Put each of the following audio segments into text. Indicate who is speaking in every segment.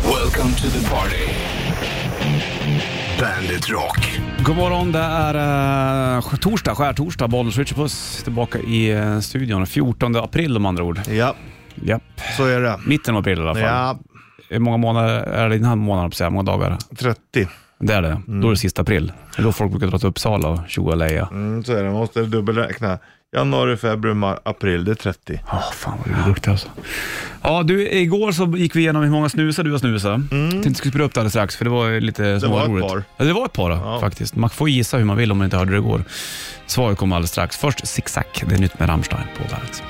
Speaker 1: Welcome to the party. Bandit Rock.
Speaker 2: God morgon, det är eh, torsdag, skärtorsdag. Bollnäs Richard Puss tillbaka i eh, studion. 14 april om andra ord.
Speaker 3: Ja,
Speaker 2: Japp.
Speaker 3: så är det.
Speaker 2: Mitten av april i alla fall.
Speaker 3: Ja,
Speaker 2: Hur många månader är det i den här månaden, på sig? många dagar?
Speaker 3: 30.
Speaker 2: Det är det. Då är det sista april. Det är då folk brukar dra till Uppsala och tjoa och leja.
Speaker 3: Mm, så är det, man måste dubbelräkna. Januari, februari, mar- april, det är 30.
Speaker 2: Ja, fan vad du är duktig alltså. Ja, du, igår så gick vi igenom hur många snusar du har snusat. Tänkte vi skulle spela upp det alldeles strax, för det var ju lite
Speaker 3: Mm. var ett
Speaker 2: småroligt.
Speaker 3: par.
Speaker 2: Ja, det var ett par
Speaker 3: Ja.
Speaker 2: faktiskt. Man får gissa hur man vill om man inte hörde det igår. Svaret kommer alldeles strax. Först Zigzag, det är nytt med Rammstein på bandet.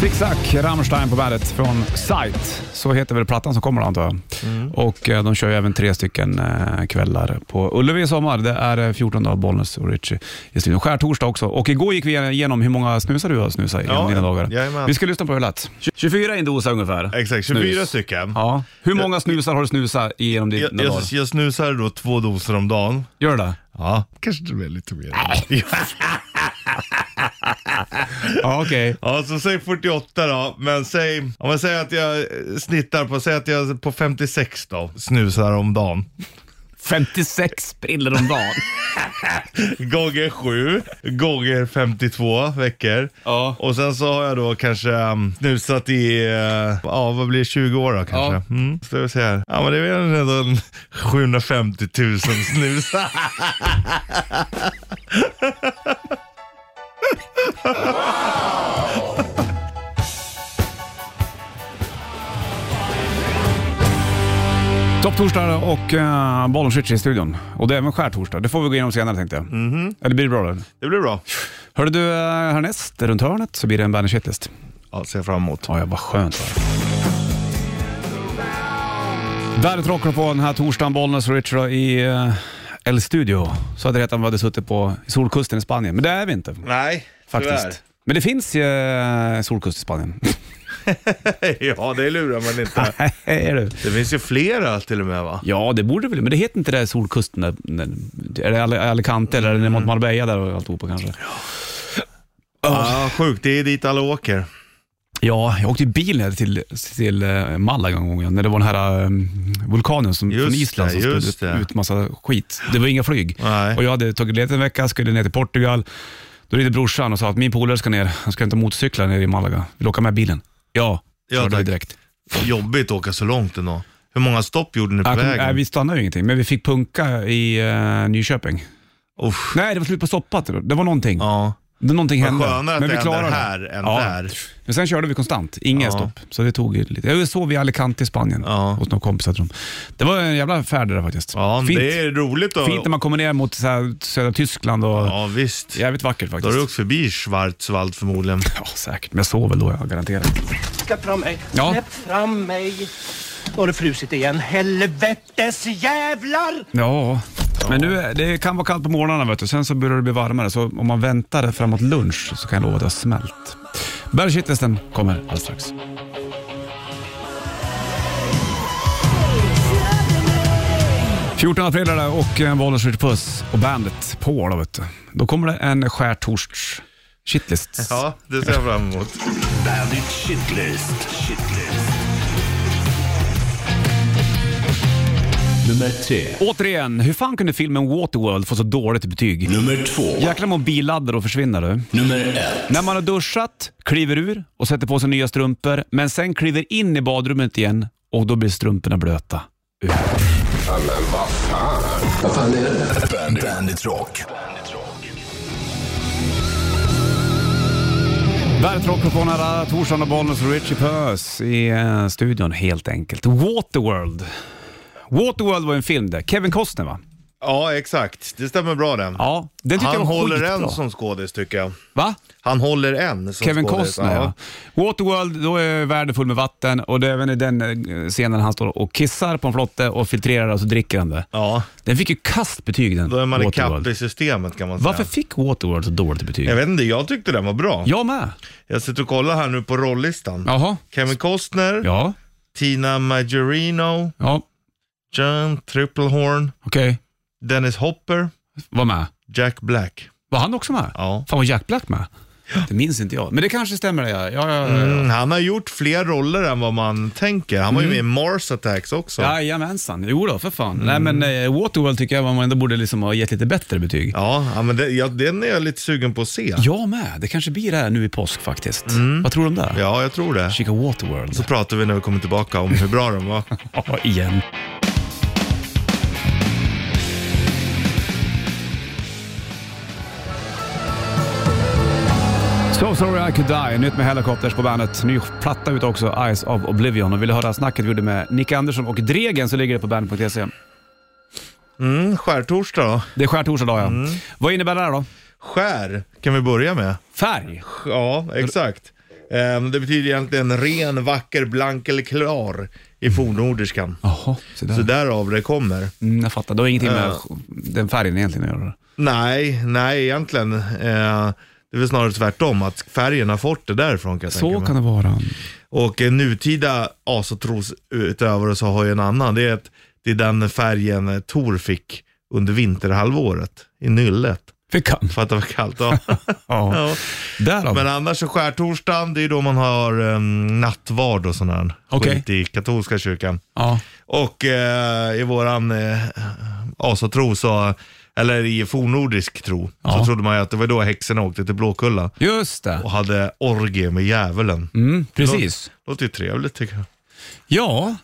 Speaker 2: Zigzag, Rammstein på bandet från Sight. Så heter väl plattan som kommer då, antar jag. Och eh, de kör ju även tre stycken eh, kvällar på Ullevi i sommar. Det är eh, 14 dagar Bollnäs och Richie i studion. Skärtorsdag också. Och igår gick vi igenom hur många snusar du har snusat genom
Speaker 3: Ja,
Speaker 2: dina dagar.
Speaker 3: jajamän.
Speaker 2: Vi ska lyssna på hur det lät. 24 i en dosa ungefär.
Speaker 3: Exakt, 24
Speaker 2: Snus.
Speaker 3: stycken.
Speaker 2: Ja. Hur många snusar har du snusat genom dina
Speaker 3: Jag, jag,
Speaker 2: dagar?
Speaker 3: jag snusar då två doser om dagen.
Speaker 2: Gör det?
Speaker 3: Ja. Kanske det blir lite mer.
Speaker 2: Ja, okej.
Speaker 3: Ja, så säg 48 då. Men säg, om man säger att jag eh, snittar på, säg att jag på 56 då, snusar om dagen.
Speaker 2: 56 briller om dagen.
Speaker 3: Gånger 7, gånger 52 veckor.
Speaker 2: Ja.
Speaker 3: Och sen så har jag då kanske um, snusat i, eh, ja vad blir det, 20 år då kanske?
Speaker 2: Ja.
Speaker 3: Mm. Så ska vi se här. Ja men det är väl ändå en 750 000 snus.
Speaker 2: Topptorsdag och uh, Bollens Richie i studion. Och det är även skärtorsdag. Det får vi gå igenom senare tänkte jag. Eller blir det bra då?
Speaker 3: det blir bra.
Speaker 2: Hörde du, eh, härnäst runt hörnet så blir det en Bandage Hitlist.
Speaker 3: Ja, ser jag fram emot.
Speaker 2: Ja, ja, vad skönt. Bandet rockar på den här torsdagen, Bollnäs och Richard i eh, El Studio. Så hade det hetat om vi hade suttit på Solkusten i Spanien, men det är vi inte
Speaker 3: Nej,
Speaker 2: faktiskt. Men det finns ju eh, solkust i Spanien.
Speaker 3: tyvärr. ja, det lurar man inte.
Speaker 2: är du?
Speaker 3: Det finns ju flera till och med va?
Speaker 2: Ja, det borde väl, men det heter inte det Solkusten. Där, där- är det Al- Alicante eller är det mot Marbella där och alltihopa kanske?
Speaker 3: Ja, sjukt. Det är dit alla åker.
Speaker 2: Ja, jag åkte i bil ner till, till eh, Malaga en gång, när det var den här eh, vulkanen som,
Speaker 3: Just
Speaker 2: från Island
Speaker 3: det,
Speaker 2: som
Speaker 3: just
Speaker 2: spydde
Speaker 3: det.
Speaker 2: ut massa skit. Det var inga flyg.
Speaker 3: Nej.
Speaker 2: Och jag hade tagit ledigt en vecka, skulle ner till Portugal. Då ringde brorsan och sa att min polare ska ner, han ska hämta motorcyklar nere i Malaga. Vill du åka med bilen? Ja,
Speaker 3: Ja,
Speaker 2: körde vi
Speaker 3: tack.
Speaker 2: direkt.
Speaker 3: Jobbigt att åka så långt ändå. Hur många stopp gjorde ni på
Speaker 2: Jag kom,
Speaker 3: vägen?
Speaker 2: nej, vi stannade ju ingenting, men vi fick punka i eh, Nyköping.
Speaker 3: Usch.
Speaker 2: Nej, det var slut på soppat. Det var någonting.
Speaker 3: Ja.
Speaker 2: Det, någonting
Speaker 3: Vad
Speaker 2: hände.
Speaker 3: skönare att
Speaker 2: men vi
Speaker 3: det händer
Speaker 2: klarade det.
Speaker 3: här än
Speaker 2: Ja.
Speaker 3: där.
Speaker 2: Men sen körde vi konstant, inga
Speaker 3: Ja.
Speaker 2: stopp. Så det tog ju lite. Jag sov i Alicante i Spanien
Speaker 3: Ja.
Speaker 2: hos några kompisar. tror de. Det var en jävla färd det där faktiskt.
Speaker 3: Ja,
Speaker 2: fint.
Speaker 3: det är roligt att...
Speaker 2: fint när man kommer ner mot så här, södra Tyskland och
Speaker 3: Ja, visst.
Speaker 2: jävligt vackert
Speaker 3: Då har
Speaker 2: faktiskt.
Speaker 3: du åkt förbi Schwarzwald förmodligen.
Speaker 2: Ja, säkert. Men jag sov väl då, jag garanterat.
Speaker 4: Släpp fram mig.
Speaker 2: Ja.
Speaker 4: Släpp fram mig. Nu har det frusit igen. Helvetes jävlar!
Speaker 2: Ja, men nu, är- det kan vara kallt på morgnarna vet du. Sen så börjar det bli varmare. Så om man väntar framåt lunch så kan jag lova att det har smält. Bergshittlisten kommer alldeles strax. –14 april är det och eh, en Bollnäs Ritchie Puss och bandet på då vet du. Då kommer det en skärtorsts shitlist.
Speaker 3: Ja, det ser jag fram emot.
Speaker 1: Bandit Shitlist. Shitlist. Nummer tre.
Speaker 2: Återigen, hur fan kunde filmen Waterworld få så dåligt betyg?
Speaker 1: Nummer två.
Speaker 2: Jäklar mobilladdar och försvinner du.
Speaker 1: Nummer ett.
Speaker 2: När man har duschat, kliver ur och sätter på sig nya strumpor, men sen kliver in i badrummet igen och då blir strumporna blöta.
Speaker 1: Bandit, Bandit Rock. Bandit Rock.
Speaker 2: Värdet rockar på nära Torsson och Bollnäs och Richie Puss i eh, studion helt enkelt. Waterworld. Waterworld var en film där. Kevin Costner va?
Speaker 3: Ja, exakt. Det stämmer bra den.
Speaker 2: Ja, den tyckte
Speaker 3: Han
Speaker 2: jag var
Speaker 3: håller
Speaker 2: skitbra.
Speaker 3: en som skådis tycker jag.
Speaker 2: Va?
Speaker 3: Han håller en som
Speaker 2: Kevin
Speaker 3: skådis.
Speaker 2: Costner ja. Waterworld, då är världen full med vatten och det är även i den eh, scenen han står och kissar på en flotte och filtrerar och så dricker han det.
Speaker 3: Ja,
Speaker 2: Den fick ju kast betyg den.
Speaker 3: då är man
Speaker 2: Waterworld.
Speaker 3: ikapp i systemet kan man säga.
Speaker 2: Varför fick Waterworld så dåligt betyg?
Speaker 3: Jag vet inte, jag tyckte den var bra.
Speaker 2: Jag med.
Speaker 3: Jag sitter och kollar här nu på rollistan.
Speaker 2: Jaha.
Speaker 3: Kevin Costner,
Speaker 2: Ja,
Speaker 3: Tina Majorino,
Speaker 2: ja,
Speaker 3: John Triplehorn,
Speaker 2: okej.
Speaker 3: Dennis Hopper,
Speaker 2: Var med.
Speaker 3: Jack Black.
Speaker 2: Var han också med?
Speaker 3: Ja.
Speaker 2: Fan, var Jack Black med? Det minns inte jag, men det kanske stämmer. Det. Ja, ja, ja, ja.
Speaker 3: Mm, han har gjort fler roller än vad man tänker. Han var ju med i
Speaker 2: Mm.
Speaker 3: Mars Attacks också.
Speaker 2: Jajamensan, jo då för fan. Nej men eh, Waterworld tycker jag man ändå borde liksom ha gett lite bättre betyg. Ja.
Speaker 3: Mm. Ja, ja, men det, ja, den är jag lite sugen på att se.
Speaker 2: Jag med, det kanske blir det här nu i påsk faktiskt. Vad tror du om det?
Speaker 3: Mm. Ja, Alltså, jag tror det.
Speaker 2: Kika Waterworld.
Speaker 3: Så pratar vi när vi kommer tillbaka om hur bra den var.
Speaker 2: Ja, igen. So sorry I could die, nytt med Helicopters på bandet. Ny platta ut också, Eyes of Oblivion. Och vill du höra snacket vi gjorde med Nick Andersson och Dregen så ligger det på bandet.se.
Speaker 3: Mm, skärtorsdag då?
Speaker 2: Det är skärtorsdag idag ja.
Speaker 3: Mm.
Speaker 2: Vad innebär det här då?
Speaker 3: Skär kan vi börja med.
Speaker 2: Färg?
Speaker 3: Ja, exakt. Ehm, det betyder egentligen ren, vacker, blank eller klar i fornordiskan.
Speaker 2: Jaha, så där.
Speaker 3: Så därav det kommer.
Speaker 2: Mm, jag fattar. Det har ingenting med
Speaker 3: Ja.
Speaker 2: den färgen egentligen att göra.
Speaker 3: Nej, nej egentligen. Eh, det är väl snarare tvärtom, att färgen har fått det därifrån kan jag tänka
Speaker 2: Så
Speaker 3: mig.
Speaker 2: kan det vara.
Speaker 3: Och en nutida asatrosutövare så har ju en annan. Det är, att, det är den färgen eh, Tor fick under vinterhalvåret i nyllet.
Speaker 2: Fickan?
Speaker 3: För att det var kallt. Ja.
Speaker 2: Ja.
Speaker 3: ja.
Speaker 2: Därav.
Speaker 3: Men annars så skärtorsdagen, det är ju då man har um, nattvard och sån här
Speaker 2: Okej.
Speaker 3: skit i katolska kyrkan.
Speaker 2: Ja.
Speaker 3: Och eh, i våran eh, asatro, så, eller i fornnordisk tro,
Speaker 2: Ja.
Speaker 3: så trodde man ju att det var då häxorna åkte till Blåkulla
Speaker 2: Just det.
Speaker 3: och hade orgie med djävulen.
Speaker 2: Mm, precis.
Speaker 3: Låter ju trevligt tycker jag.
Speaker 2: Ja,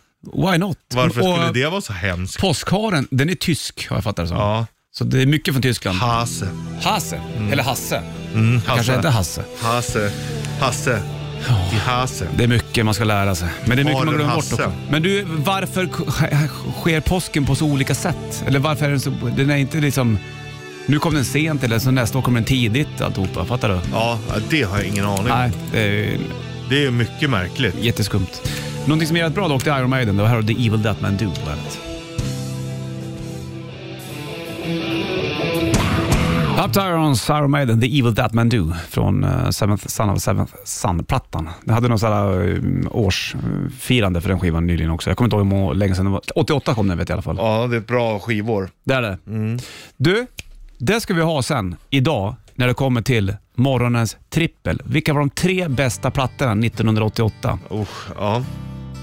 Speaker 2: why not?
Speaker 3: Varför
Speaker 2: Och,
Speaker 3: skulle det vara så hemskt?
Speaker 2: Påskharen, den är tysk har jag fattat det som.
Speaker 3: Ja,
Speaker 2: Så det är mycket från Tyskland.
Speaker 3: Hase.
Speaker 2: Hase, eller Hasse.
Speaker 3: Mm,
Speaker 2: Mm, Kanske heter
Speaker 3: Hasse.
Speaker 2: Hasse.
Speaker 3: Hasse. Hasse. I Hase.
Speaker 2: Det är mycket man ska lära sig. Men det är mycket
Speaker 3: Har
Speaker 2: man
Speaker 3: en
Speaker 2: glömmer bort
Speaker 3: Hasse.
Speaker 2: också. Men du, varför k- sker påsken på så olika sätt? Eller varför är den så... Den är inte liksom... Nu kom den sent eller så nästa år kommer den tidigt alltihopa. Fattar du?
Speaker 3: Ja, det har jag ingen aning om.
Speaker 2: Nej, det är
Speaker 3: Det är ju mycket märkligt.
Speaker 2: jätteskumt. Någonting som är jävligt bra dock, det är Iron Maiden. Det var här har The Evil That Man Do på bandet. Up to Irons, Iron Maiden, The Evil That Man Do från eh, Seventh Son of Seventh Son-plattan. Det hade någon sån här eh, årsfirande för den skivan nyligen också. Jag kommer inte ihåg hur må- länge sedan det var. 88 kom den vet jag i alla fall.
Speaker 3: Ja, det är ett bra skivår.
Speaker 2: Det är det. Du, det ska vi ha sen idag när det kommer till morgonens trippel. Vilka var de tre bästa plattorna 1988?
Speaker 3: Usch, ja.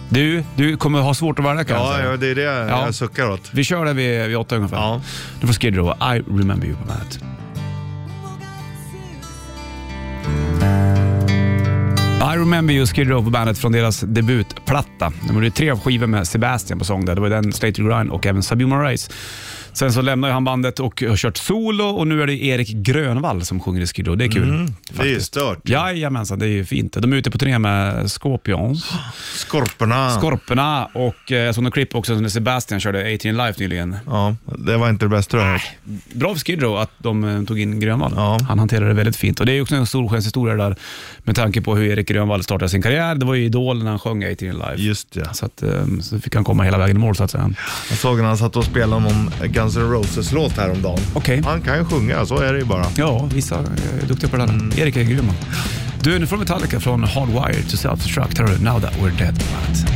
Speaker 2: Du, du kommer ha svårt att välja kan jag
Speaker 3: Ja,
Speaker 2: säga.
Speaker 3: ja, det är det
Speaker 2: Ja.
Speaker 3: jag suckar åt.
Speaker 2: Vi kör det vid, vid åtta ungefär.
Speaker 3: Ja.
Speaker 2: Nu får Skid Row, I remember you på bandet. I remember you, Skid Row på bandet från deras debutplatta. De gjorde tre skivor med Sebastian på sång där. Det var den, Straight to Grind och även Sabuma Race. Sen så lämnade han bandet och har kört solo och nu är det Erik Grönvall som sjunger i Skid Row. Det är kul.
Speaker 3: Det är ju stört.
Speaker 2: Jajamensan, det är ju fint. De är ute på turné med Scorpions.
Speaker 3: Skorporna.
Speaker 2: Skorporna och eh, jag såg något klipp också när Sebastian körde 18 Life nyligen.
Speaker 3: ja, det var inte det bästa du har hört.
Speaker 2: Bra för Skid Row att de eh, tog in Grönvall.
Speaker 3: Ja.
Speaker 2: Han hanterade det väldigt fint. Och Det är ju också en solskenshistoria där med tanke på hur Erik Grönvall startade sin karriär. Det var ju idol när han sjöng 18 Life.
Speaker 3: Just ja.
Speaker 2: Så, att, eh, så fick han komma hela vägen i mål så att säga.
Speaker 3: Jag såg när han satt och spelade någon Guns N' Roses-låt häromdagen.
Speaker 2: Okej.
Speaker 3: Han kan ju sjunga, så är det ju bara.
Speaker 2: Ja, vissa är duktiga på det där. Erik är grym. man. Du, nu får Metallica från Hardwired to Self-Destruct. Här har du Now That We're Dead på bandet.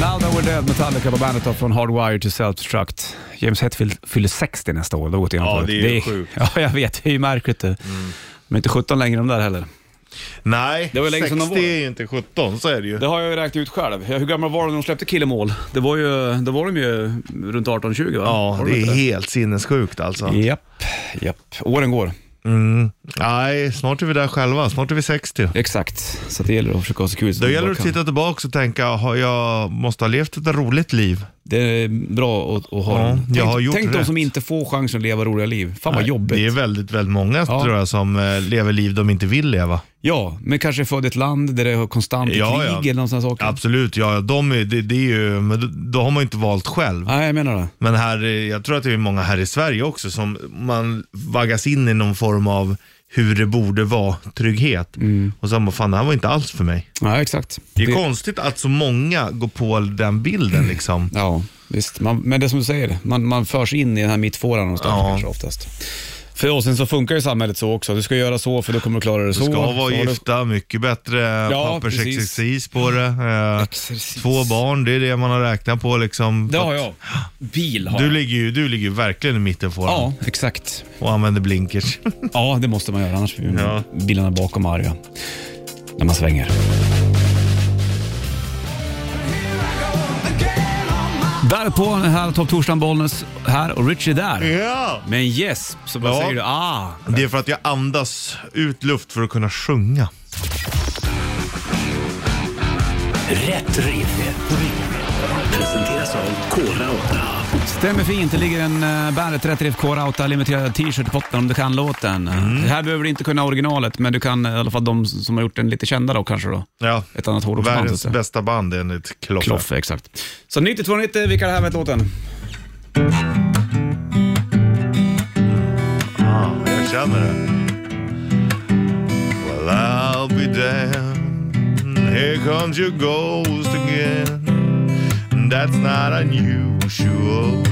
Speaker 2: Now That We're Dead, Metallica på bandet då, från Hardwired to Self-Destruct. James Hetfield fyller 60 nästa år. Det Mm. har gått igenom
Speaker 3: Ja,
Speaker 2: förut.
Speaker 3: det är ju sjukt.
Speaker 2: Ja, jag vet. Det är ju märkligt. det. De är inte 17 längre de där heller.
Speaker 3: Nej,
Speaker 2: Det var ju länge
Speaker 3: 60
Speaker 2: sedan de var.
Speaker 3: är ju inte 17, så är det ju.
Speaker 2: Det har jag ju räknat ut själv. Hur gamla var de när de släppte Killemål? Det var ju, då var de ju runt 18-20 va?
Speaker 3: Ja,
Speaker 2: Var de
Speaker 3: det
Speaker 2: inte
Speaker 3: är helt sinnessjukt alltså.
Speaker 2: Japp, japp. Åren går.
Speaker 3: Mm. Nej, snart är vi där själva. Snart är vi 60.
Speaker 2: Exakt. Så det gäller att försöka ha så kul som
Speaker 3: Då
Speaker 2: man
Speaker 3: gäller
Speaker 2: bara
Speaker 3: det att
Speaker 2: kan.
Speaker 3: titta tillbaka och tänka, "Har jag måste ha levt ett roligt liv.
Speaker 2: Det är bra att, att ha
Speaker 3: Ja,
Speaker 2: den.
Speaker 3: jag har gjort
Speaker 2: tänk de
Speaker 3: rätt.
Speaker 2: som inte får chansen att leva roliga liv. Fan vad jobbigt.
Speaker 3: Det är väldigt, väldigt många
Speaker 2: Ja.
Speaker 3: tror jag som eh, lever liv de inte vill leva.
Speaker 2: Ja, men kanske är född i ett land där det är konstant
Speaker 3: Ja,
Speaker 2: krig
Speaker 3: ja.
Speaker 2: eller någon sån sak.
Speaker 3: Absolut, ja, de är, det, det är ju, men då- då har man ju inte valt själv.
Speaker 2: Nej, jag menar det.
Speaker 3: Men här, eh, jag tror att det är många här i Sverige också som man vaggas in i någon form av hur det borde vara trygghet.
Speaker 2: Mm.
Speaker 3: Och så man, fan det här var inte alls för mig.
Speaker 2: Nej, exakt.
Speaker 3: Det är konstigt att så många går på den bilden liksom.
Speaker 2: Ja, visst. Man, men det är som du säger, man, man förs in i den här mittfåran någonstans
Speaker 3: Ja.
Speaker 2: kanske oftast. För och sen så funkar ju samhället så också. Du ska göra så för då kommer du klara det så.
Speaker 3: Du ska
Speaker 2: Så har
Speaker 3: vara gifta, mycket bättre eh,
Speaker 2: Ja,
Speaker 3: pappersexercis på det. Eh,
Speaker 2: Exercis.
Speaker 3: Två barn, det är det man har räknat på liksom.
Speaker 2: Det har jag. Bil har
Speaker 3: Du
Speaker 2: jag.
Speaker 3: ligger ju du ligger ju verkligen i mitten på
Speaker 2: Ja, exakt.
Speaker 3: den och använder blinkers.
Speaker 2: Ja, det måste man göra annars blir
Speaker 3: Ja.
Speaker 2: bilarna bakom arga. När man svänger. Där på den här topptorsdagen Bollnäs här och Richie där.
Speaker 3: ja.
Speaker 2: Men yes, så vad
Speaker 3: Ja.
Speaker 2: säger du? Ah!
Speaker 3: Det är för att jag andas ut luft för att kunna sjunga.
Speaker 1: Rätt riff. Presenteras av Kora 8.
Speaker 2: Stämmer fint, det ligger en uh, Bandet Rätt Riff Core Outa limiterad t-shirt i potten om du kan låten.
Speaker 3: Mm.
Speaker 2: Det här behöver du inte kunna originalet, men du kan eh, i alla fall de som har gjort den lite kända då kanske då.
Speaker 3: Ja.
Speaker 2: Ett annat hårdrocksband. så att
Speaker 3: Världens
Speaker 2: säga.
Speaker 3: bästa band enligt Kloffe.
Speaker 2: Kloffe, exakt. Så 9290, vilka är det här med låten?
Speaker 3: Ja, jag känner det. Well I'll be damned. Here comes your ghost again. That's not unusual.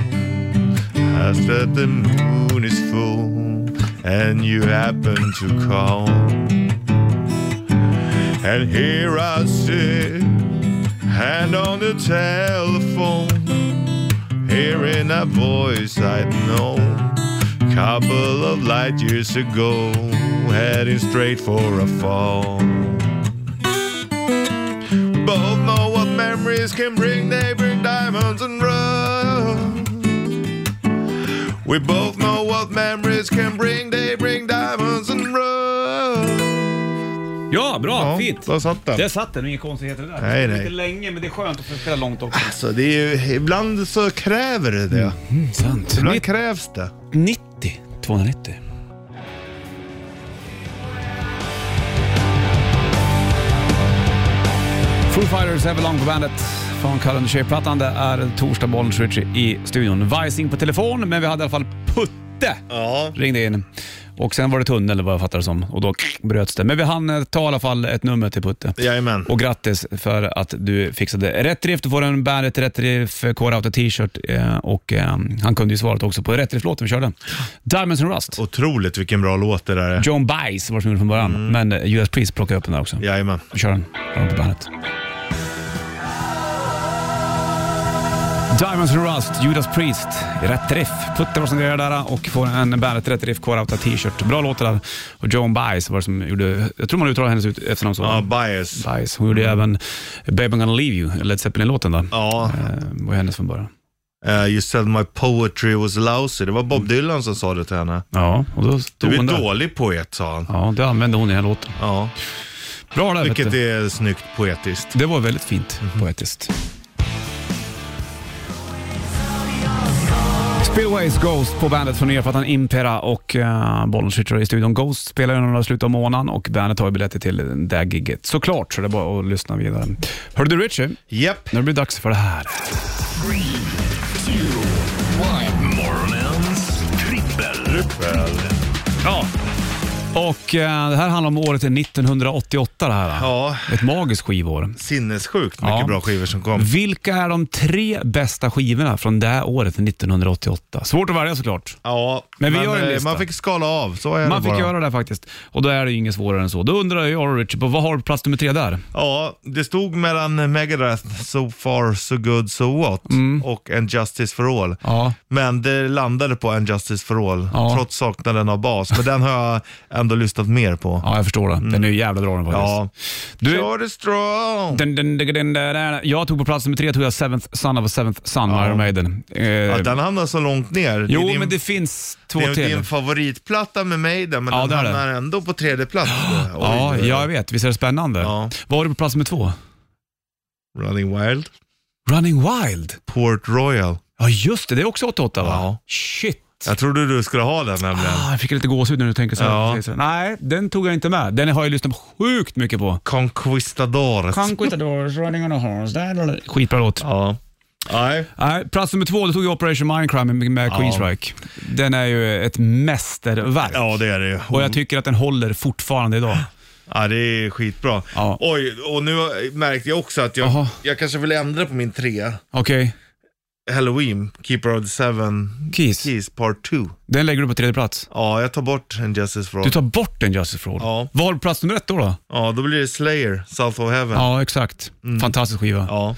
Speaker 3: As that the moon is full and you happen to call. And here I sit, hand on the telephone. Hearing a voice I'd known couple of light years ago, heading straight for a fall. Both know what memories can bring, they bring diamonds and rust. We both know what memories can bring, they bring diamonds and rust.
Speaker 2: Ja, bra, fint.
Speaker 3: där satt den.
Speaker 2: Där satt den, inga konstigheter där.
Speaker 3: Nej,
Speaker 2: det är
Speaker 3: nej.
Speaker 2: lite länge, men det är skönt att få spela långt också.
Speaker 3: Alltså, det är ju, ibland så kräver det det.
Speaker 2: Mm, Sant.
Speaker 3: Ibland krävs det.
Speaker 2: 90, 290. Foo Fighters, Everlong på bandet från Kalle and the Shape-plattan. Det är torsdag, Bollnäs Ritchie i studion. Vajsing på telefon, men vi hade i alla fall Putte.
Speaker 3: Ja.
Speaker 2: Ringde in. Och sen var det tunnel vad jag fattar det som och då bröts det. Men vi hann eh, ta i alla fall ett nummer till Putte.
Speaker 3: Jajamän.
Speaker 2: Och grattis för att du fixade rätt drift. Du får en Bandet Rätt Drift Core Auto t-shirt. Eh, och eh, han kunde ju svaret också på Rätt Drift-låten vi körde. Diamonds and Rust.
Speaker 3: Otroligt vilken bra låt det där är.
Speaker 2: John Bice var det som gjorde från början. Men eh, US Priest plockade upp den där också.
Speaker 3: Jajamän.
Speaker 2: Vi kör den. Har den på bandet. Diamonds and Rust, Judas Priest, Rätt Riff. Putte var som grejade där eh, och får en Bandet Rätt Riff Core Auto t-shirt. Bra låt det där. Och Joan Bice var det som gjorde, jag tror man uttalar hennes ut- efternamn så.
Speaker 3: Ja, bias.
Speaker 2: Bice. Hon gjorde även Babe I'm gonna leave you, Led Zeppelin-låten där.
Speaker 3: Mm. Ja,
Speaker 2: Eh, var hennes från början.
Speaker 3: eh, you said my poetry was lousy. Det var Bob Dylan som sa det till henne.
Speaker 2: Ja, och då
Speaker 3: Du
Speaker 2: stod
Speaker 3: är
Speaker 2: Mm. hon där.
Speaker 3: dålig poet, sa han.
Speaker 2: Ja, det använde hon i den här låten.
Speaker 3: Ja,
Speaker 2: Bra där vet
Speaker 3: vilket Mhm.
Speaker 2: du.
Speaker 3: är snyggt poetiskt.
Speaker 2: Det var väldigt fint poetiskt. Spillways Ghost på bandet från nya plattan Impera och uh, Bollnäs Ritchie i studion. Ghost spelar ju några slut av månaden och bandet har ju biljetter till det här gigget såklart, så det är bara att lyssna vidare. Hörde du Richie, nu
Speaker 3: Japp.
Speaker 2: blir det dags för det här.
Speaker 1: Morgonens trippel.
Speaker 2: Ja. Och eh, det här handlar om året är 1988 det här.
Speaker 3: Ja,
Speaker 2: Ett magiskt skivår.
Speaker 3: sinnessjukt mycket
Speaker 2: Ja.
Speaker 3: bra skivor som kom.
Speaker 2: Vilka är de tre bästa skivorna från det här året 1988? Svårt att välja såklart.
Speaker 3: Ja,
Speaker 2: Men vi gör en
Speaker 3: eh,
Speaker 2: lista.
Speaker 3: man fick skala av. Så är
Speaker 2: Man
Speaker 3: det
Speaker 2: fick
Speaker 3: bara.
Speaker 2: göra det faktiskt. Och då är det ju inget svårare än så. Då undrar jag Richard, på vad har du på plats nummer tre där?
Speaker 3: Ja, det stod mellan Megadeth, So far, So good, So what
Speaker 2: Mm.
Speaker 3: och And Justice for all.
Speaker 2: Ja.
Speaker 3: Men det landade på And Justice for all,
Speaker 2: Ja.
Speaker 3: trots saknaden av bas. Men den har jag ändå lyssnat mer på.
Speaker 2: Ja, jag förstår det. Den är ju jävla bra den faktiskt.
Speaker 3: Mm. Ja.
Speaker 2: Du-
Speaker 3: Kör strong.
Speaker 2: Den, den, den, den, den, den. Jag tog på plats nummer tre, tog jag Seventh Son of a Seventh Son, Iron Maiden. Eh,
Speaker 3: Ja, den hamnar så långt ner.
Speaker 2: jo,
Speaker 3: det är din,
Speaker 2: men det finns två
Speaker 3: det är
Speaker 2: till.
Speaker 3: din favoritplatta med mig där, men
Speaker 2: Ja,
Speaker 3: den
Speaker 2: där är
Speaker 3: hamnar ändå på tredje plats. Oj,
Speaker 2: Ja,
Speaker 3: oj,
Speaker 2: jag
Speaker 3: oj.
Speaker 2: vet. Visst är det spännande?
Speaker 3: Ja.
Speaker 2: Vad har du på plats nummer två?
Speaker 3: Running Wild.
Speaker 2: Running Wild.
Speaker 3: Port Royal.
Speaker 2: Ja, just det. Det är också 88 va?
Speaker 3: Ja.
Speaker 2: Shit.
Speaker 3: Jag trodde du skulle ha den nämligen.
Speaker 2: Ah, jag fick lite gåshud när du tänker så här.
Speaker 3: Ja.
Speaker 2: Säger så här. Nej, den tog jag inte med. Den har jag lyssnat sjukt mycket på.
Speaker 3: Conquistadores.
Speaker 2: Conquistadors running on a horse. Da, da, da. Skitbra låt.
Speaker 3: ja. Nej.
Speaker 2: Nej, plats nummer två, då tog jag Operation Mindcrime med, med Queensryche. Den är ju ett mästerverk.
Speaker 3: Ja, det är det ju.
Speaker 2: Och jag tycker att den håller fortfarande idag.
Speaker 3: Ja, det är skitbra.
Speaker 2: Ja.
Speaker 3: Oj, och nu märkte jag också att
Speaker 2: Jaha.
Speaker 3: jag, jag kanske vill ändra på min trea.
Speaker 2: Okej.
Speaker 3: Halloween, Keeper of the Seven
Speaker 2: Keys.
Speaker 3: Keys Part 2.
Speaker 2: Den lägger du på tredje plats.
Speaker 3: Ja, jag tar bort en Justice for All.
Speaker 2: Du tar bort den Justice for All.
Speaker 3: Ja.
Speaker 2: Vad har du på plats nummer ett då? då?
Speaker 3: Ja, då blir det Slayer, South of Heaven.
Speaker 2: Ja, exakt. Fantastisk skiva.
Speaker 3: Ja.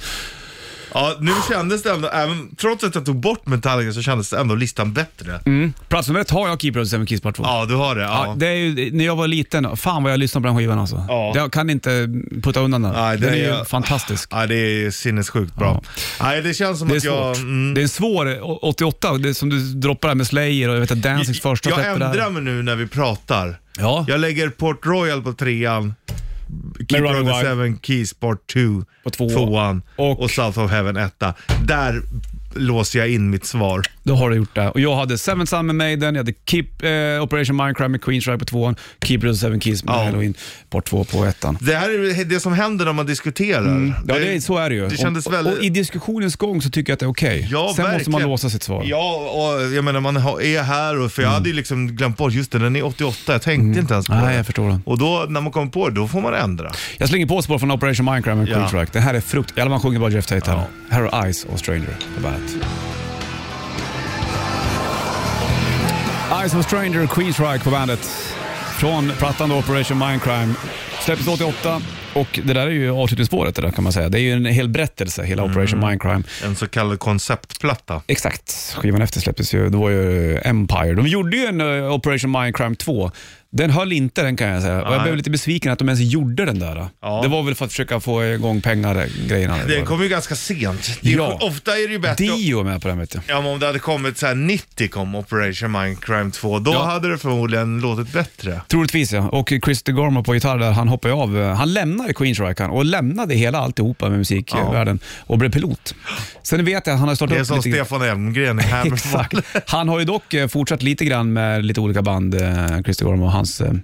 Speaker 3: Ja, nu kändes det ändå, även, trots att jag tog bort Metallica så kändes det ändå listan bättre.
Speaker 2: Plats nummer ett har jag Keeper of the Seven Keys Part 2.
Speaker 3: Ja, du har det.
Speaker 2: Mm. Ja,
Speaker 3: Ja.
Speaker 2: det är ju, när jag var liten, fan vad jag lyssnade på den skivan alltså.
Speaker 3: Ja.
Speaker 2: Jag kan inte putta undan den.
Speaker 3: Nej, det
Speaker 2: den är ju
Speaker 3: är-
Speaker 2: fantastisk.
Speaker 3: Ja, det är sinnessjukt bra. Nej, det känns som
Speaker 2: Det är
Speaker 3: att jag...
Speaker 2: svårt.
Speaker 3: Mm,
Speaker 2: Det är en svår å- 88, det är som du droppar där med Slayer och jag vet att Danzigs första
Speaker 3: jag
Speaker 2: släppte
Speaker 3: ändrar
Speaker 2: där.
Speaker 3: mig nu när vi pratar.
Speaker 2: Ja.
Speaker 3: Jag lägger Port Royal på trean,
Speaker 2: Running
Speaker 3: Keeper of the
Speaker 2: Wild.
Speaker 3: Seven Keys Part 2
Speaker 2: På tvåan.
Speaker 3: tvåan
Speaker 2: Och-
Speaker 3: och, South of Heaven etta. Där låser jag in mitt svar.
Speaker 2: Då har du gjort det. Och jag hade Seven Sun med Maiden, jag hade Keep, eh, Operation Minecraft med Queen Strike på tvåan, Keeper of the Seven Keys med
Speaker 3: Ja.
Speaker 2: Halloween, part två på ettan.
Speaker 3: Det här är det som händer när man diskuterar.
Speaker 2: Mm. Ja, det, är- så är det ju.
Speaker 3: Det kändes
Speaker 2: och,
Speaker 3: väldigt...
Speaker 2: och i diskussionens gång så tycker jag att det är okej.
Speaker 3: Ja,
Speaker 2: Sen måste man
Speaker 3: verkligen.
Speaker 2: låsa sitt svar. Mm.
Speaker 3: Ja, och jag menar man har- är här och för jag hade ju liksom glömt bort, just det, den är 88, jag tänkte inte ens på
Speaker 2: Nej,
Speaker 3: det.
Speaker 2: jag förstår det.
Speaker 3: Och då, när man kommer på det, då får man ändra.
Speaker 2: Jag slänger på spår från Operation Minecraft med
Speaker 3: Ja.
Speaker 2: Queen Strike. Det här är frukt... Eller man sjunger bara Jeff Tate här.
Speaker 3: Ja.
Speaker 2: Här har Ice och Stranger på bandet. Ice och Stranger, Queen Strike på bandet. Från plattan då, Operation Mindcrime. Släpptes 88 och det där är ju avslutningsspåret det där kan man säga. Det är ju en hel berättelse, hela
Speaker 3: Mm.
Speaker 2: Operation Mindcrime.
Speaker 3: En så kallad konceptplatta.
Speaker 2: Exakt. Skivan efter släpptes ju, det var ju Empire. De gjorde ju en eh, Operation Mindcrime 2. Den höll inte den kan jag säga. Och jag
Speaker 3: Nej.
Speaker 2: blev lite besviken att de ens gjorde den där.
Speaker 3: Ja.
Speaker 2: Det var väl för att försöka få igång pengar, grejerna.
Speaker 3: Den kom ju ganska sent. Det är,
Speaker 2: Ja.
Speaker 3: Ofta är det ju bättre
Speaker 2: Dio är med på den vet du.
Speaker 3: Ja, men om det hade kommit så här 90 kom Operation Mindcrime 2, då
Speaker 2: Ja.
Speaker 3: hade det förmodligen låtit bättre.
Speaker 2: Troligtvis ja. Och Chris DeGormo på gitarr där, han hoppade av. eh, Han lämnade Queens Rock, han och lämnade hela alltihopa med musikvärlden och blev pilot. Sen vet jag att han har startat
Speaker 3: Det är
Speaker 2: upp
Speaker 3: som
Speaker 2: lite grann.
Speaker 3: Stefan Elmgren i Hammerfall.
Speaker 2: Exakt. Han har ju dock eh, fortsatt lite grann med lite olika band, eh, Chris DeGormo och hans eh, jag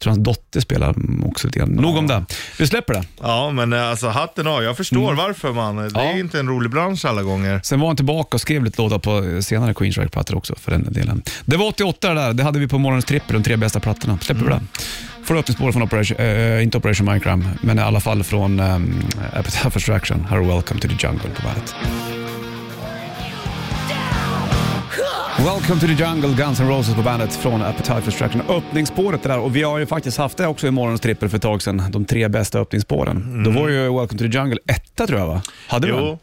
Speaker 2: tror hans dotter spelar mm, också lite grann. Nog om det. Vi släpper det.
Speaker 3: Ja, men eh, alltså hatten av. Jag förstår varför man. Det
Speaker 2: Mm. Ja.
Speaker 3: är ju inte en rolig bransch alla gånger.
Speaker 2: Sen var han tillbaka och skrev lite låtar på eh, senare Queens Rock-plattor också för den delen. Det var 88 det där. Det hade vi på morgonens trippel, de tre bästa plattorna. Släpper vi det. Får du öppningsspår från Operation, eh, inte Operation Minecraft, men i alla fall från um, Appetite for Destruction. Här är Welcome to the Jungle på bandet. Welcome to the Jungle, Guns N' Roses på bandet från Appetite for Destruction. Öppningsspåret det där och vi har ju faktiskt haft det också i morgonens trippel för ett tag sedan. De tre bästa öppningsspåren. Då var ju Welcome to the Jungle etta tror jag va? Hade vi den?
Speaker 3: Jo.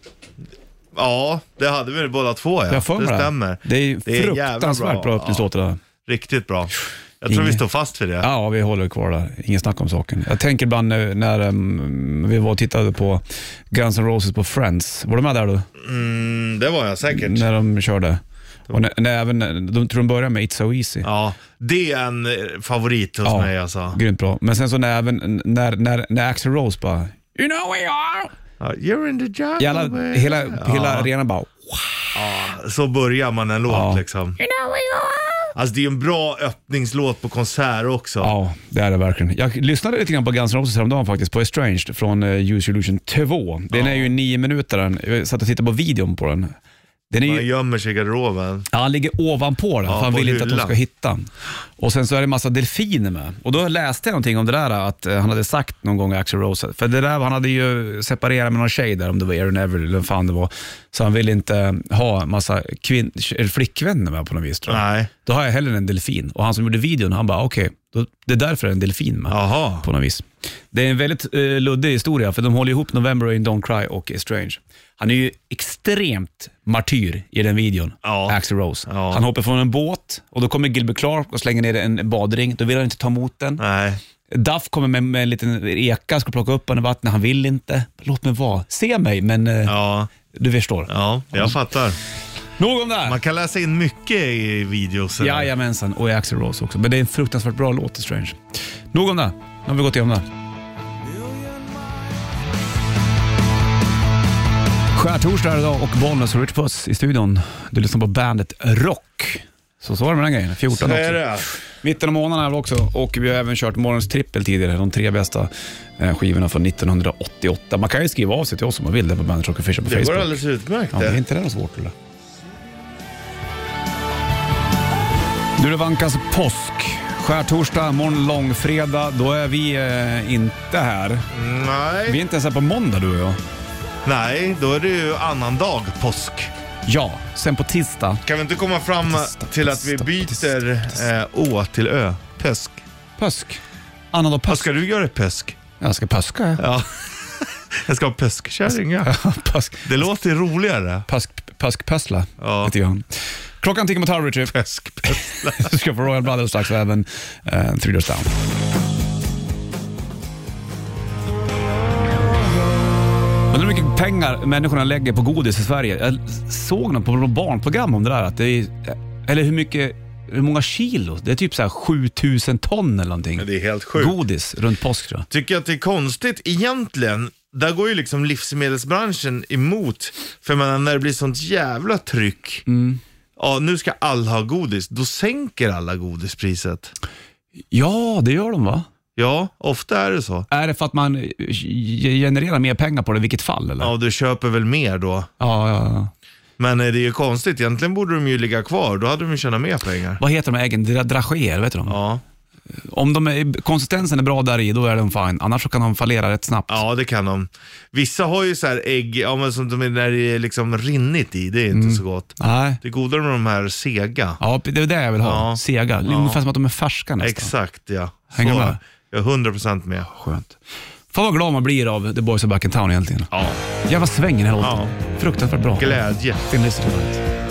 Speaker 3: Ja, det hade vi båda två ja.
Speaker 2: Jag har för mig
Speaker 3: det stämmer.
Speaker 2: Det är
Speaker 3: Det är jävla
Speaker 2: fruktansvärt
Speaker 3: bra.
Speaker 2: bra öppningslåt det där.
Speaker 3: Riktigt bra. Jag tror
Speaker 2: Inge.
Speaker 3: vi står fast vid det.
Speaker 2: Ja, vi håller kvar där. Ingen snack om saken. Jag tänker ibland när, när em, vi var och tittade på Guns N' Roses på Friends. Var du med där du?
Speaker 3: Mm, det var jag säkert.
Speaker 2: När de körde. Och när, när även, de tror de började med It's So Easy.
Speaker 3: Ja, det är en eh, favorit hos mig alltså.
Speaker 2: grymt bra. Men sen så när även, när, när, när Axl Rose bara You know we are.
Speaker 3: Ja, You're in the jungle.
Speaker 2: Jävla,
Speaker 3: baby."
Speaker 2: hela, hela
Speaker 3: ja,
Speaker 2: arenan bara
Speaker 3: Så börjar man en låt
Speaker 2: Ja.
Speaker 3: liksom. Alltså det är ju en bra öppningslåt på konsert också.
Speaker 2: Ja, det är det verkligen. Jag lyssnade lite grann på Guns N' Roses häromdagen faktiskt, på Estranged från eh, Use Your Illusion 2. Den är ju nio minuter den. Jag satt och tittade på videon på den. Den är
Speaker 3: Man
Speaker 2: ju,
Speaker 3: gömmer sig i garderoben.
Speaker 2: ja, han ligger ovanpå den,
Speaker 3: Ja,
Speaker 2: för han
Speaker 3: på
Speaker 2: vill inte att de
Speaker 3: hyllan.
Speaker 2: ska hitta den. Och sen så är det en massa delfiner med. Och då läste jag någonting om det där, att eh, han hade sagt någon gång, Axl Rose, för det där, han hade ju separerat med någon tjej där, om det var Erin Neville eller vem fan det var. Så han ville inte ha massa kvin- eller flickvänner med på något vis tror jag.
Speaker 3: Nej.
Speaker 2: Då har jag hellre en delfin. Och han som gjorde videon, han bara okej, då- det är därför det är en delfin med
Speaker 3: Jaha.
Speaker 2: på något vis. Det är en väldigt eh, luddig historia, för de håller ihop November Rain, Don't Cry och Strange. Han är ju extremt martyr i den videon,
Speaker 3: Ja.
Speaker 2: Axl Rose.
Speaker 3: Ja.
Speaker 2: Han hoppar från en båt och då kommer Gilbert Clark och slänger ner en badring. Då vill han inte ta emot den.
Speaker 3: Nej.
Speaker 2: Duff kommer med, med en liten eka, ska plocka upp honom i vattnet. Han vill inte. Låt mig vara. Se mig, men eh,
Speaker 3: Ja,
Speaker 2: du förstår.
Speaker 3: ja, jag fattar.
Speaker 2: Nog om det här.
Speaker 3: Man kan läsa in mycket i videos. eh.
Speaker 2: Jajamensan, och i Axl Rose också. Men det är en fruktansvärt bra låt, The Strange. Nog om det. Nu har vi gått igenom det. Skärtorsdag är det idag och Bollnäs och Rich Puss i studion. Du lyssnar på bandet Rock. Så så var det med den grejen. 14
Speaker 3: Så
Speaker 2: också.
Speaker 3: är det.
Speaker 2: Mitten av månaden är det också och vi har även kört morgons trippel tidigare. De tre bästa eh, skivorna från 1988. Man kan ju skriva av sig till oss om man vill. Det är på bandet Rock Official på
Speaker 3: Det
Speaker 2: Facebook.
Speaker 3: går alldeles utmärkt
Speaker 2: Ja, det är
Speaker 3: det.
Speaker 2: inte det något svårt eller? Du, det vankas påsk. Skärtorsdag, morgon långfredag. Då är vi eh, inte här. Vi
Speaker 3: Nej.
Speaker 2: är inte ens här på måndag du och jag.
Speaker 3: Nej, då är det ju annan dag påsk.
Speaker 2: Ja, sen på tisdag.
Speaker 3: Kan vi inte komma fram till att vi byter eh, Å till Ö? Pösk.
Speaker 2: Pösk. Annandag
Speaker 3: Vad
Speaker 2: pösk.
Speaker 3: ska du göra i pösk?
Speaker 2: Jag ska pöska. jag.
Speaker 3: Ja. Jag ska ha pöskkärringar.
Speaker 2: pösk.
Speaker 3: Det låter roligare.
Speaker 2: Pösk, pöskpössla
Speaker 3: Ja.
Speaker 2: heter jag. Klockan tickar mot halv, Richie.
Speaker 3: Pöskpössla.
Speaker 2: Du ska få Royal Brothers strax och även eh, Three Doors Down. Undrar hur mycket pengar människorna lägger på godis i Sverige. Jag såg något på något barnprogram om det där. Att det är, eller hur mycket, hur många kilo? Det är typ så här 7000 ton eller någonting.
Speaker 3: Det är helt sjukt.
Speaker 2: Godis runt påsk tror jag.
Speaker 3: Tycker jag att det är konstigt egentligen. Där går ju liksom livsmedelsbranschen emot. För man, när det blir sånt jävla tryck. Ja, nu ska alla ha godis. Då sänker alla godispriset.
Speaker 2: Ja, det gör de va?
Speaker 3: Ja, ofta är det så.
Speaker 2: Är det för att man eh, g- genererar mer pengar på det i vilket fall eller?
Speaker 3: Ja, du köper väl mer då.
Speaker 2: ja, ja. ja.
Speaker 3: Men eh, det är ju konstigt. Egentligen borde de ju ligga kvar. Då hade de ju tjänat mer pengar.
Speaker 2: Vad heter de här äggen? Dra- Dragéer, vet du dem?
Speaker 3: Ja,
Speaker 2: Om de är, konsistensen är bra där i, då är de fine. Annars så kan de fallera rätt snabbt.
Speaker 3: ja det kan de. Vissa har ju så här ägg, ja, men som de är, när det är liksom rinnigt i. Det är inte så gott.
Speaker 2: Nej.
Speaker 3: Det är godare med de här sega.
Speaker 2: Mm. Ja, det är det jag vill ha.
Speaker 3: Ja.
Speaker 2: Sega.
Speaker 3: Ja.
Speaker 2: Ungefär som att de är färska nästan.
Speaker 3: Exakt ja.
Speaker 2: Hänger
Speaker 3: Så,
Speaker 2: med?
Speaker 3: Jag är 100% med.
Speaker 2: Skönt. Fan vad glad man blir av The Boys Are Back In Town egentligen.
Speaker 3: Ja.
Speaker 2: Jävla sväng i den här låten. Fruktansvärt bra.
Speaker 3: Glädje.
Speaker 2: Fin lyssning på det.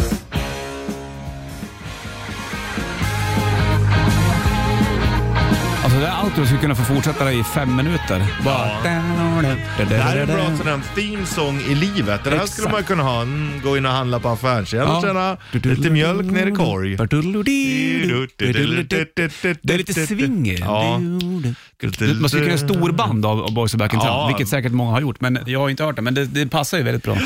Speaker 2: Alltså det här outrot skulle kunna få fortsätta i fem minuter. Bara...
Speaker 3: Ja. Det här är en bra sån här theme song i livet. Det här
Speaker 2: Exakt.
Speaker 3: skulle man kunna ha. Mm, gå in och handla på affären. Tjena, tjena. Lite mjölk ner i korg.
Speaker 2: Det är lite swing i den.
Speaker 3: Ja.
Speaker 2: Man skulle kunna göra storband av av Boys Are Back In Town,
Speaker 3: Ja.
Speaker 2: vilket säkert många har gjort, men jag har inte hört det. Men det, det passar ju väldigt bra.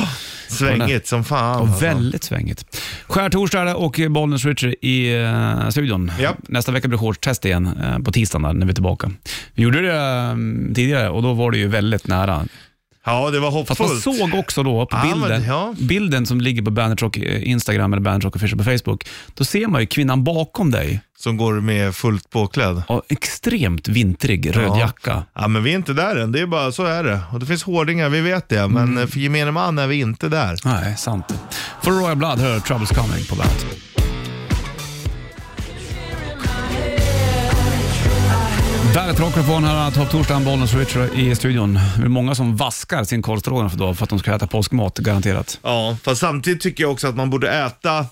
Speaker 3: Svängigt som fan.
Speaker 2: Och
Speaker 3: alltså.
Speaker 2: väldigt svängigt. Skärtorsdag är det och Bollnäs Richard i eh, studion.
Speaker 3: Japp.
Speaker 2: Nästa vecka blir shortstest igen eh, på tisdagen där, när vi är tillbaka. Vi gjorde det eh, tidigare och då var det ju väldigt nära.
Speaker 3: Ja, det var
Speaker 2: Fast
Speaker 3: hoppfullt.
Speaker 2: man såg också då på
Speaker 3: Ja, men-
Speaker 2: bilden,
Speaker 3: ja.
Speaker 2: bilden som ligger på Bandit Rock eh, Instagram eller Bandit Rock Official på Facebook, då ser man ju kvinnan bakom dig.
Speaker 3: Som går med fullt påklädd.
Speaker 2: Ja, extremt vintrig röd
Speaker 3: Ja.
Speaker 2: jacka.
Speaker 3: Ja, men vi är inte där än. Det är bara så är det. Och det finns hårdingar, vi vet det. Men eh, för gemene man är vi inte där.
Speaker 2: Nej, sant. För Royal Blood hör Troubles Coming på bandet. Bandet Rockar på den här topptorsdagen, Bollnäs och Richard i studion. Det är många som vaskar sin korvstroganoff för dag för att de ska äta påskmat, garanterat.
Speaker 3: Ja, fast samtidigt tycker jag också att man borde äta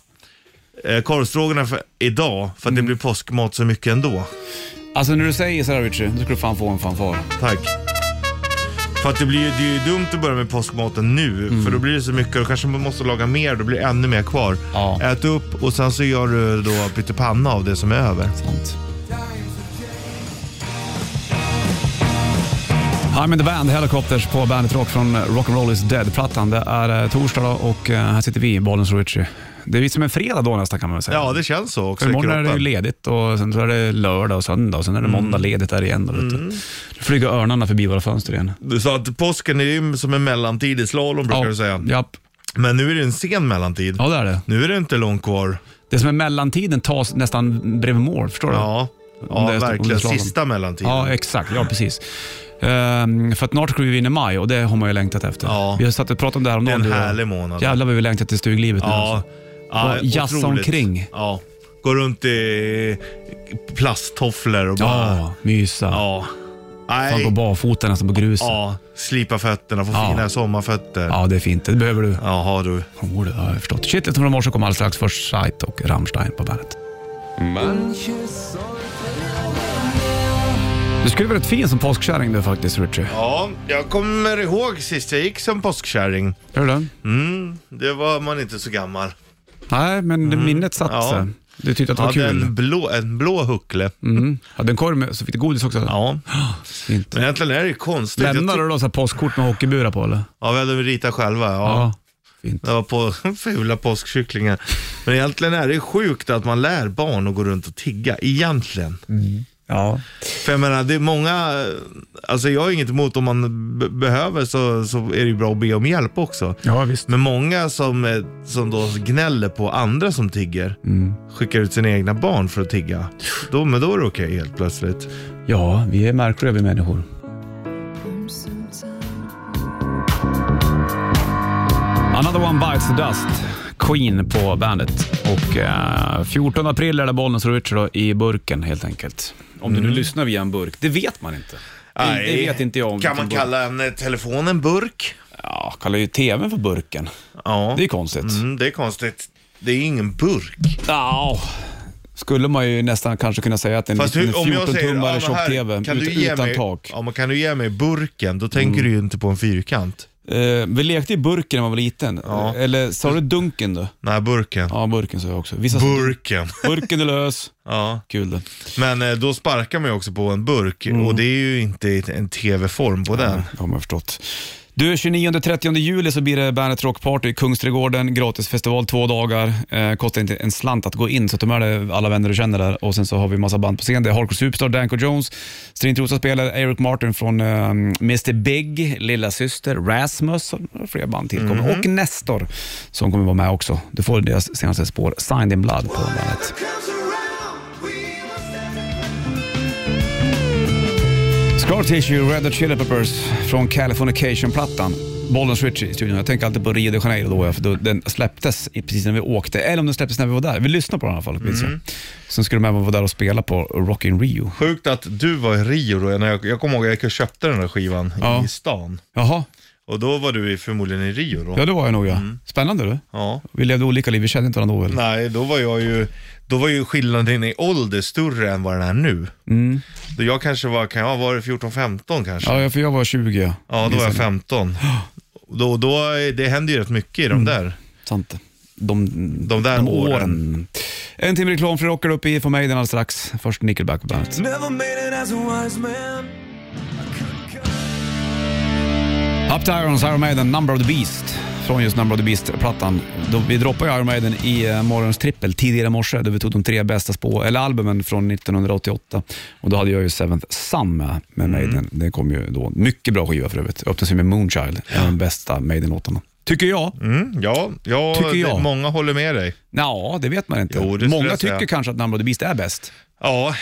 Speaker 3: eh, korvstroganoff idag. För att det blir påskmat så mycket ändå.
Speaker 2: Alltså när du säger sådär Richard, då ska du fan få en fanfar.
Speaker 3: Tack. För att det, blir ju, det är ju dumt att börja med påskmaten nu, för då blir det så mycket och kanske man måste laga mer, då blir det ännu mer kvar.
Speaker 2: Ja.
Speaker 3: Ät upp och sen så gör du då pyttipanna av det som är över.
Speaker 2: Sant. I'm in the band, Helicopters på Bandet Rock från Rock'n'Roll is Dead-plattan. Det är eh, torsdag då och eh, här sitter vi, Bollnäs och Richie. Det är som en fredag då nästan kan man väl säga.
Speaker 3: Ja, det känns så också
Speaker 2: För
Speaker 3: i
Speaker 2: imorgon är det ju
Speaker 3: kroppen.
Speaker 2: ledigt och sen så är det lördag och söndag och sen är det
Speaker 3: Mm.
Speaker 2: måndag ledigt där igen. Då, vet du. Då flyger örnarna förbi våra fönster igen.
Speaker 3: Du sa att påsken är ju som en mellantid i slalom brukar du säga.
Speaker 2: Japp.
Speaker 3: Men nu är det en sen mellantid.
Speaker 2: Ja, det är det.
Speaker 3: Nu är det inte långt kvar.
Speaker 2: Det som är mellantiden tas nästan bredvid mål, förstår du?
Speaker 3: Ja,
Speaker 2: Om det
Speaker 3: ja
Speaker 2: är- om det är
Speaker 3: verkligen.
Speaker 2: slalom.
Speaker 3: Sista mellantiden.
Speaker 2: Ja, exakt. Ja, precis. Ehm, för att snart ska vi vinna maj och det har man ju längtat efter.
Speaker 3: Ja.
Speaker 2: Vi har satt och pratat om det här om
Speaker 3: det är
Speaker 2: dagen,
Speaker 3: en
Speaker 2: du och jag.
Speaker 3: härlig månad.
Speaker 2: Jävlar vad vi längtar till stuglivet nu.
Speaker 3: Ja.
Speaker 2: alltså.
Speaker 3: ja
Speaker 2: Och jassa
Speaker 3: otroligt.
Speaker 2: omkring.
Speaker 3: Ja. Gå runt i plasttofflor och bara...
Speaker 2: ja mysa.
Speaker 3: Ja.
Speaker 2: Fan, gå
Speaker 3: Nej.
Speaker 2: barfota nästan på gruset. Ja.
Speaker 3: Ja. Slipa fötterna, få
Speaker 2: Ja.
Speaker 3: fina sommarfötter.
Speaker 2: det är fint. Det behöver du.
Speaker 3: Jaha du.
Speaker 2: Jo, det har jag förstått. Kittet från morse kommer alldeles strax. Först Sight och Rammstein på bandet. Du skulle vara rätt fin som påskkärring du faktiskt, Richie.
Speaker 3: Ja, jag kommer ihåg sist jag gick som påskkärring.
Speaker 2: Gör du det?
Speaker 3: Mm, det var man inte så gammal.
Speaker 2: Nej, men minnet satt
Speaker 3: Mm. Ja.
Speaker 2: sig. Du tyckte att det
Speaker 3: Jag
Speaker 2: var
Speaker 3: hade
Speaker 2: kul.
Speaker 3: en blå, en blå huckle.
Speaker 2: Mm. Hade en korv med, så fick du godis också.
Speaker 3: Ja,
Speaker 2: Fint.
Speaker 3: men egentligen är det ju konstigt. Jag
Speaker 2: Lämnade
Speaker 3: tyck-
Speaker 2: du då så här postkort med hockeyburar på eller?
Speaker 3: Ja, vi hade ritat själva. Ja.
Speaker 2: Fint.
Speaker 3: Det var på fula påskkycklingar. Men egentligen är det sjukt att man lär barn att gå runt och tigga. Egentligen.
Speaker 2: Ja.
Speaker 3: För jag menar, det är många, alltså jag har inget emot om man b- behöver så, så är det ju bra att be om hjälp också.
Speaker 2: ja, visst.
Speaker 3: Men många som, eh, som då gnäller på andra som tigger,
Speaker 2: Mm.
Speaker 3: skickar ut sina egna barn för att tigga. Då, men då är det okej helt plötsligt.
Speaker 2: Ja, vi är märkliga vi människor. Another one bites the dust. Queen på bandet. Och eh, 14 april är det Bollnäs och Richard då, i burken helt enkelt. Om du nu lyssnar via en burk, det vet man inte. Det-
Speaker 3: Mm. Nej.
Speaker 2: Det vet inte jag om.
Speaker 3: Kan
Speaker 2: vilken
Speaker 3: man
Speaker 2: burk.
Speaker 3: kalla en eh, telefon en burk?
Speaker 2: Ja, kallar ju tvn för burken.
Speaker 3: Ja.
Speaker 2: Det är konstigt.
Speaker 3: Mm, det är konstigt. Det är ingen burk.
Speaker 2: Ja, skulle man ju nästan kanske kunna säga att liksom en
Speaker 3: Fast
Speaker 2: liten
Speaker 3: hur, om jag säger,
Speaker 2: 14-tummare
Speaker 3: men här,
Speaker 2: tjock-tv
Speaker 3: kan
Speaker 2: ut,
Speaker 3: du ge
Speaker 2: utan
Speaker 3: mig,
Speaker 2: tak. Mm.
Speaker 3: Ja, men kan du ge mig burken, då tänker du ju inte på en fyrkant.
Speaker 2: Eh, vi lekte i burken när man var liten.
Speaker 3: Ja.
Speaker 2: Eller sa du dunken då?
Speaker 3: Nej, burken.
Speaker 2: Ja, burken sa jag också. Vissa sa-
Speaker 3: Burken.
Speaker 2: burken är lös.
Speaker 3: Ja.
Speaker 2: Kul det.
Speaker 3: Men eh, då sparkar man ju också på en burk
Speaker 2: Mm.
Speaker 3: och det är ju inte ett- en tv-form på den.
Speaker 2: Det har man förstått. Du, 29-30 juli så blir det Bandet Rockparty i Kungsträdgården. Gratisfestival två dagar. Eh, kostar inte en slant att gå in, så ta med dig alla vänner du känner där. Och Sen så har vi massa band på scen. Det är Hardcore Superstar, Danko Jones, Strintrosa spelar, Eric Martin från eh, Mr Big, Lilla Syster, Rasmus och flera band tillkommer. Och Nestor som kommer vara med också. Du får deras senaste spår, Signed in Blood, på bandet. Scar Tissue, Red Hot Chili Peppers från Californication-plattan. Bollens Richie i studion. Jag tänker alltid på Rio de Janeiro då, ja, för då den släpptes i- precis när vi åkte. Eller om den släpptes när vi var där. Vi lyssnade på den i alla
Speaker 3: Mhm.
Speaker 2: fall. minns jag. Sen skulle de även vara där och spela på Rock in Rio.
Speaker 3: Sjukt att du var i Rio då. När jag, jag kommer ihåg att jag köpte den där skivan
Speaker 2: Ja.
Speaker 3: i stan.
Speaker 2: Jaha,
Speaker 3: Och då var du i- förmodligen i Rio då.
Speaker 2: ja det var jag nog ja. Spännande du.
Speaker 3: Ja.
Speaker 2: Vi levde olika liv, vi kände inte varandra då väl?
Speaker 3: Mm. Nej, då var jag ju, då var ju skillnaden i ålder större än vad den är nu. Då jag kanske var, kan jag ha varit 14-15 kanske? Ja,
Speaker 2: Mm. Ja, för jag var 20 ja.
Speaker 3: då var jag
Speaker 2: Gissar.
Speaker 3: 15. Då, då, är- det händer ju rätt mycket
Speaker 2: Mm.
Speaker 3: i de där.
Speaker 2: Sant. De,
Speaker 3: De där åren.
Speaker 2: En timme reklam för rockar upp i för mig den alldeles strax. Först Nickelback på bandet. Up to Irons, Iron Maiden, Number of the Beast. Från just Number of the Beast-plattan. Då- Vi droppade ju Iron Maiden i eh, morgons trippel tidigare i morse där vi tog de tre bästa spå, eller albumen från 1988. Och då hade jag ju Seventh Sun med,
Speaker 3: Mm.
Speaker 2: med Maiden. Det kom ju då. Mycket bra skiva för övrigt. Öppnade sig med Moonchild, en av de bästa Maiden-låtarna. Tycker jag.
Speaker 3: Mm, ja, ja
Speaker 2: Tycker
Speaker 3: det-
Speaker 2: jag.
Speaker 3: många håller med dig.
Speaker 2: Ja, det vet man inte.
Speaker 3: Jo, det skulle
Speaker 2: Många
Speaker 3: jag säga.
Speaker 2: tycker kanske att Number of the Beast är bäst.
Speaker 3: Ja,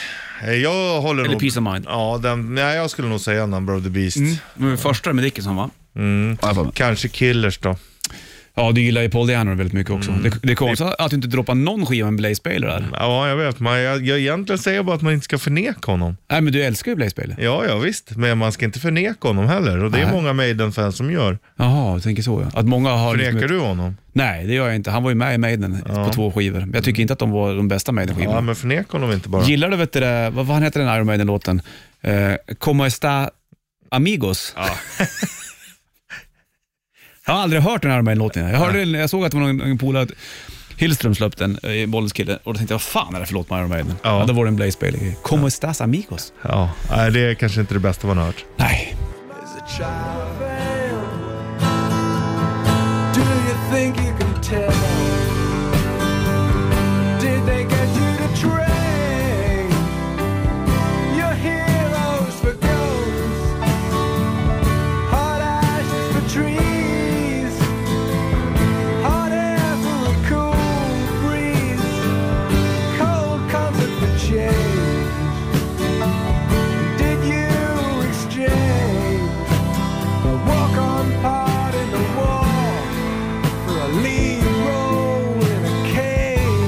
Speaker 3: eh, jag håller
Speaker 2: Eller
Speaker 3: nog...
Speaker 2: Peace of Mind. Mm.
Speaker 3: Ja, den, nej, jag skulle nog säga Number of the Beast.
Speaker 2: Men första med Dickinson va? Mm.
Speaker 3: Kanske Killers då.
Speaker 2: Ja, du gillar ju Paul Diano väldigt mycket också.
Speaker 3: Mm.
Speaker 2: Det, det är konstigt att du inte droppar någon skiva med Blaze Baylor där.
Speaker 3: Ja, jag vet. Man, jag, jag egentligen säger jag bara att man inte ska förneka honom.
Speaker 2: Nej, men du älskar ju Blaze Baylor.
Speaker 3: Ja, ja visst. Men man ska inte förneka honom heller. Och det är
Speaker 2: Nej.
Speaker 3: många Maiden-fans som gör.
Speaker 2: Jaha, du tänker så ja. Att många har...
Speaker 3: Förnekar
Speaker 2: liksom-
Speaker 3: du honom?
Speaker 2: Nej, det gör jag inte. Han var ju med i Maiden på två skivor. Men Jag tycker inte att de var de bästa
Speaker 3: Ja,
Speaker 2: Maiden-skivorna.
Speaker 3: men förneka honom inte bara.
Speaker 2: Gillar du, vet du, det- vad vad heter den Iron Maiden-låten? Eh, Como está amigos? jag har aldrig hört den Iron Maiden-låten. Jag, hörde, den- jag såg att det var någon, någon polare, att Hillström släppte den, eh, Bollens kille, och då tänkte jag, vad fan är det för låt med Iron Maiden? Ja.
Speaker 3: Ja.
Speaker 2: då var det en Blaze Bailey. Como estás amigos?
Speaker 3: Ja, nej, det är kanske inte det bästa man har hört.
Speaker 2: Nej.
Speaker 5: Do you think you can tell? Did they get you to train your heroes for ghosts, hot ashes for trees, hot air for a cool breeze, cold comfort for change? Did you exchange a walk-on part in the wall? for a lead role in a cage.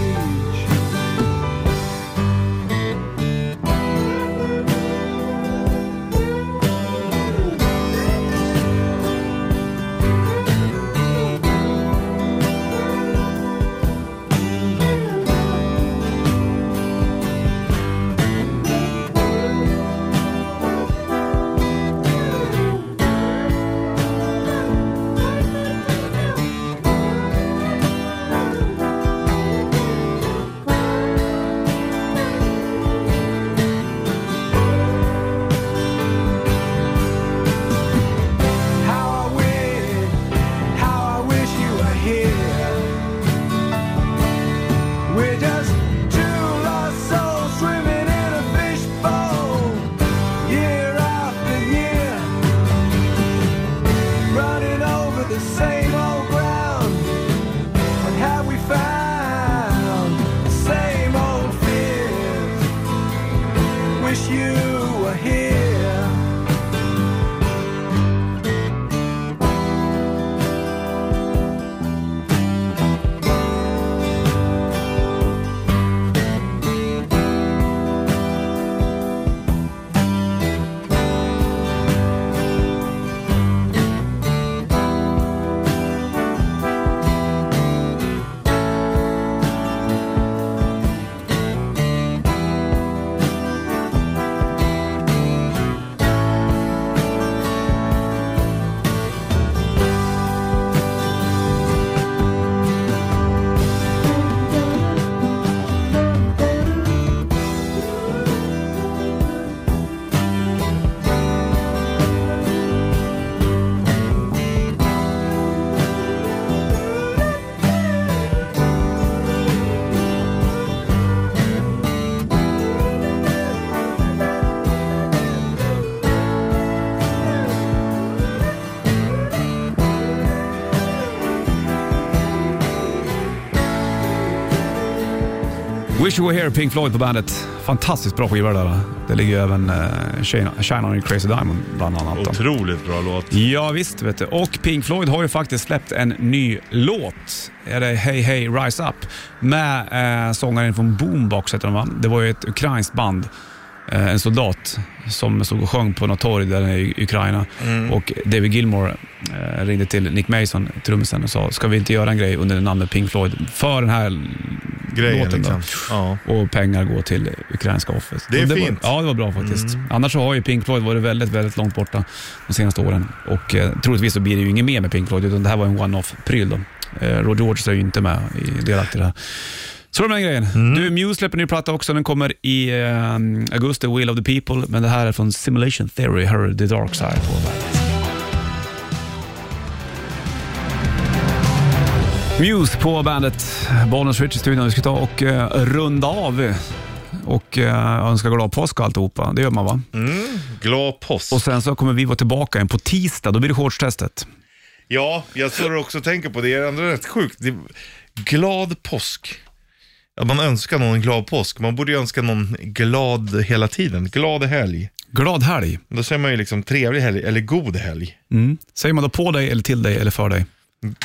Speaker 5: How I wish, how I wish you were here. We're just two lost souls swimming in a fishbowl, year after year, running over the same old ground. What have we found? Same old fears. Wish you were here.
Speaker 2: Wish You Were Here, Pink Floyd på bandet. Fantastiskt bra skiva det där. Det ligger ju även eh, Shine, Shine On Your Crazy Diamond bland annat. Då.
Speaker 3: Otroligt bra låt.
Speaker 2: Ja visst vet du. Och Pink Floyd har ju faktiskt släppt en ny låt. Är det Hey Hey Rise Up? Med eh, sångaren från Boombox heter de va? Det var ju ett ukrainskt band. Eh, en soldat som stod och sjöng på något torg där i Ukraina.
Speaker 3: Mm.
Speaker 2: Och David Gilmore eh, ringde till Nick Mason, trummisen, och sa ska vi inte göra en grej under namnet Pink Floyd för den här
Speaker 3: Grejen
Speaker 2: låten då?
Speaker 3: liksom. Ja.
Speaker 2: och pengar går till ukrainska Office.
Speaker 3: Det är
Speaker 2: Så
Speaker 3: fint.
Speaker 2: Var, ja, det var bra faktiskt. Annars så har ju Pink Floyd varit väldigt, väldigt långt borta de senaste åren. Och eh, troligtvis så blir det ju inget mer med Pink Floyd, utan det här var en one-off-pryl då. Eh, Roger Waters är ju inte med i delaktig i det här. Så det var den grejen.
Speaker 3: Mm.
Speaker 2: Du, Muse släpper ny platta också. Den kommer i eh, augusti, Will of the People. Men det här är från Simulation Theory, här är The Dark Side på bandet. Muse på bandet, Bonus Rich i studion. Vi ska ta och eh, runda av och eh, önska glad påsk och alltihopa. Det gör man va?
Speaker 3: Glad post.
Speaker 2: Och sen så kommer vi vara tillbaka igen på tisdag. Då blir det shortstestet.
Speaker 3: Ja, jag står också och tänker på det. Det är ändå rätt sjukt. Det... Glad påsk. Att man önskar någon en glad påsk. Man borde ju önska någon glad hela tiden. Glad helg.
Speaker 2: Glad helg!
Speaker 3: Då säger man ju liksom trevlig helg eller god helg
Speaker 2: Säger man då på dig, eller till dig eller för dig?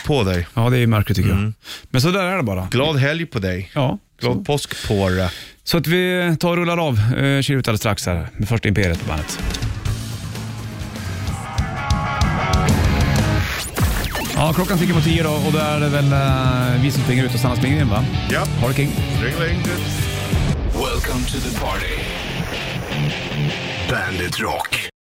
Speaker 3: på dig.
Speaker 2: Ja, det är ju märkligt tycker jag. Men så där är det bara.
Speaker 3: Glad helg på dig.
Speaker 2: Ja.
Speaker 3: Glad påsk på dig.
Speaker 2: Så att vi tar och rullar av eh, Kör ut alldeles strax här med första Imperiet på bandet. Ja, klockan tickar på tio då och då är det väl eh, vi som springer ut och Sanna springer in va?
Speaker 3: Ja.
Speaker 2: Ha det king.
Speaker 3: Ringeling.
Speaker 1: Welcome to the party. Bandit Rock.